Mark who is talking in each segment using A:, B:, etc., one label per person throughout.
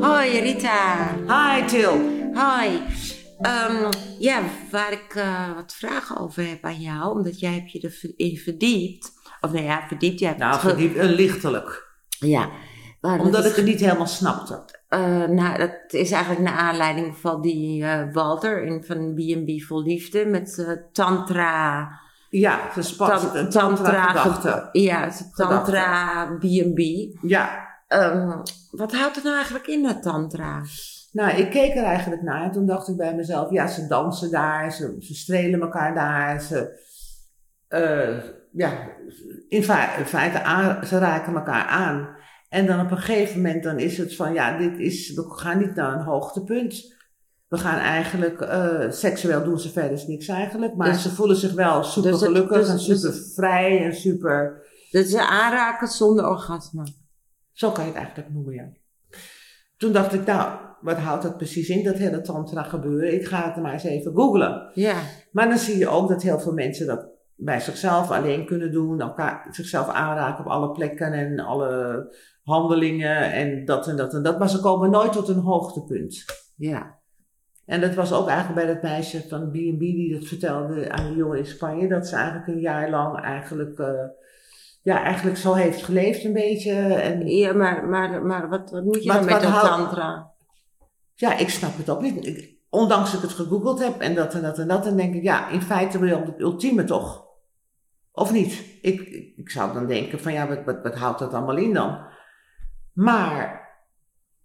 A: Hoi Rita.
B: Hi Til.
A: Hoi. Ehm, ja, waar ik eh, wat vragen over heb aan jou, omdat jij hebt je erin verdiept. Of nou ja, verdiept. Jij hebt
B: Nou,
A: het ge-
B: verdiep een lichtelijk.
A: Ja. Maar dat
B: Omdat
A: is-
B: ik het niet helemaal snapte.
A: eh, nou, dat is eigenlijk naar aanleiding van die eh, Walter in, van B&B Vol Liefde met eh, Tantra.
B: Ja, gespast.
A: tan-
B: een tantra
A: ge- Ja, het is Tantra B&B.
B: Ja.
A: Ehm, wat houdt het nou eigenlijk in, dat Tantra?
B: Nou, ik keek er eigenlijk naar en toen dacht ik bij mezelf, ja, ze dansen daar, ze, ze strelen elkaar daar, ze, eh, ja, in, fe- in feite aan- ze raken elkaar aan. En dan op een gegeven moment dan is het van, ja, dit is, we gaan niet naar een hoogtepunt. We gaan eigenlijk, eh, seksueel doen ze verder niks eigenlijk, maar
A: Dus-
B: ze voelen zich wel super
A: dus het-
B: gelukkig
A: dus-
B: en
A: dus-
B: super vrij en super,
A: Dat ze aanraken zonder orgasme.
B: zo kan je het eigenlijk noemen, ja. Toen dacht ik, nou, wat houdt dat precies in, dat hele tantra gebeuren? Ik ga het maar eens even googlen.
A: Ja.
B: Maar dan zie je ook dat heel veel mensen dat bij zichzelf alleen kunnen doen, elkaar, zichzelf aanraken op alle plekken en alle handelingen en dat en dat en dat. Maar ze komen nooit tot een hoogtepunt.
A: Ja.
B: En dat was ook eigenlijk bij dat meisje van B&B die dat vertelde aan de jongen in Spanje. Dat ze eigenlijk een jaar lang eigenlijk, eh, ja, eigenlijk zo heeft geleefd een beetje. En
A: Ja, maar, maar, maar wat, wat moet je
B: Wat-
A: dan met
B: wat
A: dat
B: houdt-
A: tantra?
B: Ja, ik snap het ook niet. Ik- ondanks dat ik het gegoogeld heb en dat en dat en dat, dan denk ik, ja, in feite wil je op het ultieme toch? Of niet? Ik, ik- ik zou dan denken van, ja, wat, wat, wat houdt dat allemaal in dan? Maar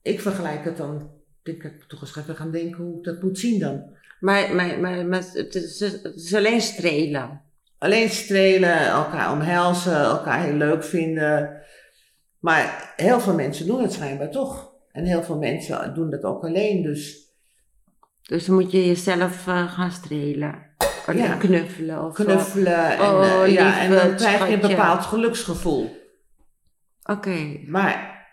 B: ik vergelijk het dan, ik denk ik moet toch eens even gaan denken hoe ik dat moet zien dan.
A: Maar, maar, maar, maar het, is, het is alleen strelen.
B: Alleen strelen, elkaar omhelzen, elkaar heel leuk vinden. Maar heel veel mensen doen het schijnbaar toch. En heel veel mensen doen dat ook alleen, dus...
A: Dus dan moet je jezelf eh, gaan strelen. Of
B: Ja.
A: knuffelen of eh, zo.
B: knuffelen. En,
A: Oh,
B: eh, ja, en dan
A: lieverd,
B: krijg je een
A: schatje.
B: bepaald geluksgevoel.
A: Oké,
B: Maar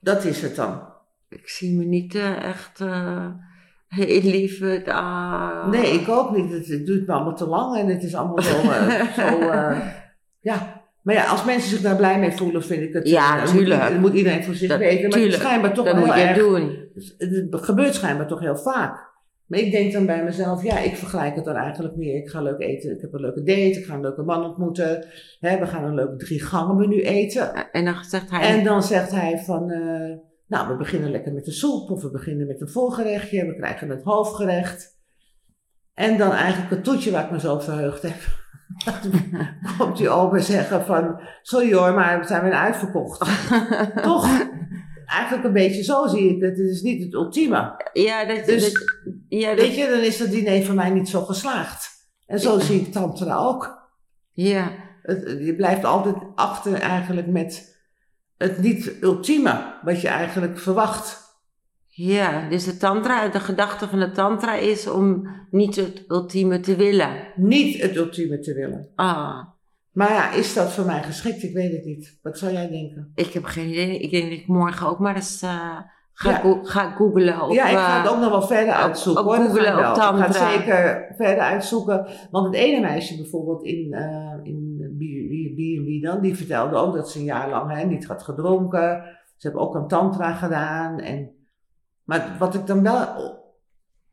B: dat is het dan.
A: ik zie me niet eh, echt eh heel lief. het, ah.
B: Nee, ik ook niet. Het, het duurt me allemaal te lang en het is allemaal zo. eh, zo eh, ja. Maar ja, als mensen zich daar blij mee voelen, vind ik het.
A: Ja,
B: eh, moet
A: tuurlijk.
B: ieder- Dat moet iedereen voor zich
A: Dat-
B: weten. Maar het is
A: tuurlijk.
B: schijnbaar toch
A: Dat
B: wel
A: moet
B: heel
A: je
B: erg. Dus
A: doen.
B: Het gebeurt schijnbaar toch heel vaak. Maar ik denk dan bij mezelf, ja, ik vergelijk het dan eigenlijk meer. Ik ga leuk eten, ik heb een leuke date, ik ga een leuke man ontmoeten. Hè, we gaan een leuk drie gangen menu eten.
A: En dan zegt hij,
B: En dan zegt hij van, eh, nou, we beginnen lekker met de soep of we beginnen met een voorgerechtje, we krijgen het hoofdgerecht. En dan eigenlijk het toetje waar ik me zo op verheugd heb. Komt die open zeggen van, sorry hoor, maar we zijn weer uitverkocht. Toch? Eigenlijk een beetje zo zie ik het. Het is niet het ultieme.
A: ja, dat,
B: Dus-
A: dat- ja, dat,
B: Weet je, dan is dat diner voor mij niet zo geslaagd. En zo zie ik tantra ook.
A: ja,
B: Het- je blijft altijd achter eigenlijk met het niet ultieme wat je eigenlijk verwacht.
A: ja. Dus de tantra, de gedachte van de tantra is om niet het ultieme te willen.
B: Niet het ultieme te willen.
A: Ah,
B: Maar ja, is dat voor mij geschikt? Ik weet het niet. Wat zou jij denken?
A: ik heb geen idee. Ik denk dat ik morgen ook maar eens eh, ga,
B: Ja.
A: go- ga googlen. Op,
B: ja, ik ga het
A: eh,
B: ook nog wel verder
A: op-
B: uitzoeken.
A: op
B: hoor. Dat ga
A: googlen,
B: ik wel.
A: op
B: Ik ga
A: tantra.
B: het zeker verder uitzoeken. Want het ene meisje bijvoorbeeld in, eh in B&B dan, die vertelde ook dat ze een jaar lang hè, niet had gedronken. Ze hebben ook een tantra gedaan. En, maar wat ik dan wel o-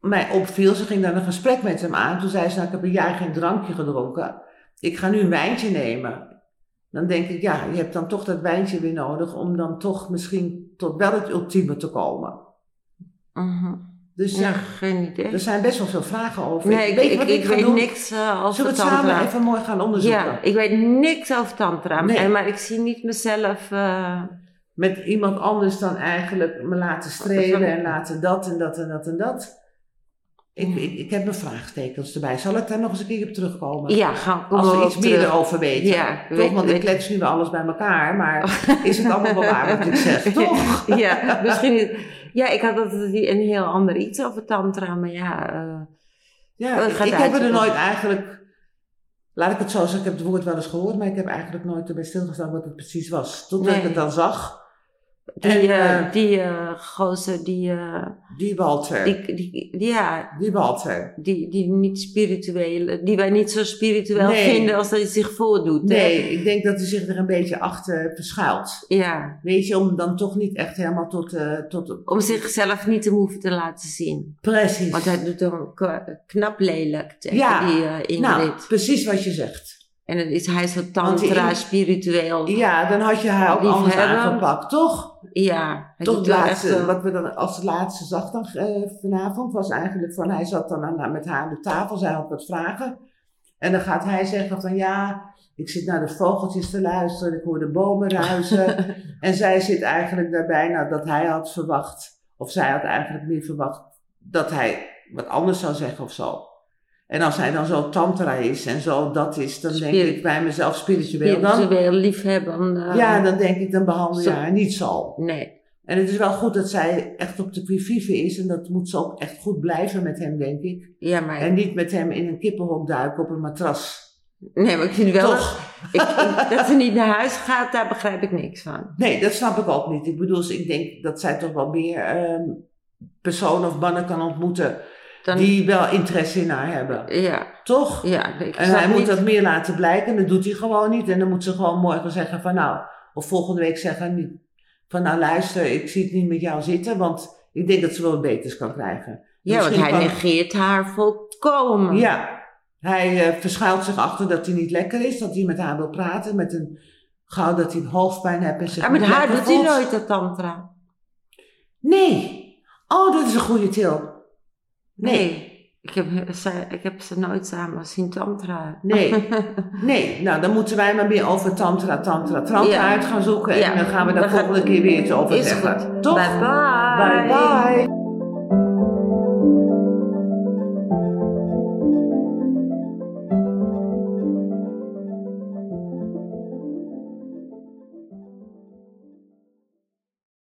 B: mij opviel, ze ging dan een gesprek met hem aan. Toen zei ze, nou, ik heb een jaar geen drankje gedronken. Ik ga nu een wijntje nemen. Dan denk ik, ja, je hebt dan toch dat wijntje weer nodig om dan toch misschien tot wel het ultieme te komen.
A: mhm.
B: Dus
A: Ja,
B: ja,
A: geen idee.
B: er zijn best wel veel vragen over.
A: nee, ik,
B: weet
A: ik,
B: wat
A: ik
B: ga
A: weet
B: doen?
A: niks eh over
B: Zullen we het
A: tantra.
B: samen even mooi gaan onderzoeken?
A: ja, ik weet niks over tantra.
B: Nee.
A: En, maar ik zie niet mezelf. eh,
B: Met iemand anders dan eigenlijk me
A: Oh,
B: laten strelen en laten dat en dat en dat en dat. Ik, ik, ik heb mijn vraagtekens erbij. Zal ik daar nog eens een keer op terugkomen?
A: ja, gaan we
B: Als we
A: wel
B: iets
A: op
B: meer
A: terug.
B: over weten.
A: Ja,
B: toch?
A: weet-
B: Want ik
A: weet- Oh.
B: klets nu wel alles bij elkaar. Maar is het allemaal wel waar wat ik zeg? Toch?
A: ja, misschien. niet. Ja, ik had altijd een heel ander iets over tantra, maar ja. eh,
B: Ja,
A: Dat
B: ik,
A: gaat
B: ik heb er
A: uitzoeken.
B: nooit eigenlijk... Laat ik het zo zeggen, ik heb het woord wel eens gehoord, maar ik heb eigenlijk nooit erbij stilgestaan wat het precies was. Totdat
A: Nee.
B: ik het dan zag.
A: Die,
B: En,
A: eh,
B: eh,
A: die eh, gozer, die, eh,
B: Die Walter. Die,
A: die, die, ja,
B: Walter.
A: die, die niet spirituele, die wij niet zo spiritueel
B: Nee.
A: vinden als dat hij zich voordoet. hè?
B: Nee, ik denk dat hij zich er een beetje achter verschuilt.
A: Ja,
B: Weet je, om dan toch niet echt helemaal tot... eh tot
A: om zichzelf niet te hoeven te laten zien.
B: precies.
A: Want hij doet dan k- knap lelijk tegen
B: Ja.
A: die eh, Ingrid.
B: nou, precies wat je zegt.
A: En dan is hij zo
B: Want die
A: tantra,
B: Ing-
A: spiritueel. Ja,
B: Ja, dan had je haar ook
A: Lief
B: anders
A: hebben.
B: aangepakt, toch?
A: hij
B: toch
A: doet
B: het
A: wel
B: laatste,
A: echt, eh,
B: wat we dan als het laatste zag dan, eh, vanavond, was eigenlijk van, hij zat dan aan, met haar aan de tafel, zij had wat vragen. En dan gaat hij zeggen van, ja, ik zit naar de vogeltjes te luisteren, ik hoor de bomen ruisen. en zij zit eigenlijk daarbij, nou, dat hij had verwacht, of zij had eigenlijk meer verwacht, dat hij wat anders zou zeggen of zo. En als hij dan zo tantra is en zo dat is, dan denk
A: Spirit-
B: ik bij mezelf spiritueel dan.
A: spiritueel liefhebben. eh,
B: Ja, dan denk ik, dan behandel je
A: Zo-
B: haar niet zo.
A: Nee,
B: En het is wel goed dat zij echt op de quivive is. En dat moet ze ook echt goed blijven met hem, denk ik.
A: ja, maar,
B: En niet met hem in een kippenhok duiken op een matras.
A: nee, maar ik vind wel
B: Toch?
A: ik, ik- dat ze niet naar huis gaat, daar begrijp ik niks van.
B: Nee, dat snap ik ook niet. Ik bedoel, dus ik denk dat zij toch wel meer ehm, personen of mannen kan ontmoeten.
A: Dan,
B: die wel interesse in haar hebben.
A: ja,
B: Toch?
A: ja, ik
B: En
A: snap
B: hij moet
A: niet-
B: dat meer laten blijken. En dat doet hij gewoon niet. En dan moet ze gewoon morgen zeggen van nou. Of volgende week zeggen niet, van nou luister, ik zie het niet met jou zitten. Want ik denk dat ze wel wat beters kan krijgen.
A: ja, want
B: misschien
A: hij
B: kan-
A: negeert haar volkomen.
B: Ja. Hij eh, verschuilt zich achter dat hij niet lekker is. Dat hij met haar wil praten. Met een gauw dat hij hoofdpijn heeft. En zich
A: Ja, met
B: niet
A: haar
B: lekker
A: doet hij
B: voelt.
A: nooit dat tantra.
B: Nee. Oh, dat is een goede til. Nee.
A: Ik heb, eh, ze, ik heb ze nooit samen zien tantra.
B: Nee, nee. Nou, dan moeten wij maar meer over tantra, tantra, tantra
A: Ja.
B: uit gaan zoeken.
A: Ja.
B: En dan gaan we daar
A: We gaan-
B: volgende keer weer iets over
A: Is
B: zeggen.
A: goed.
B: Toch?
A: Bye bye.
B: Bye bye.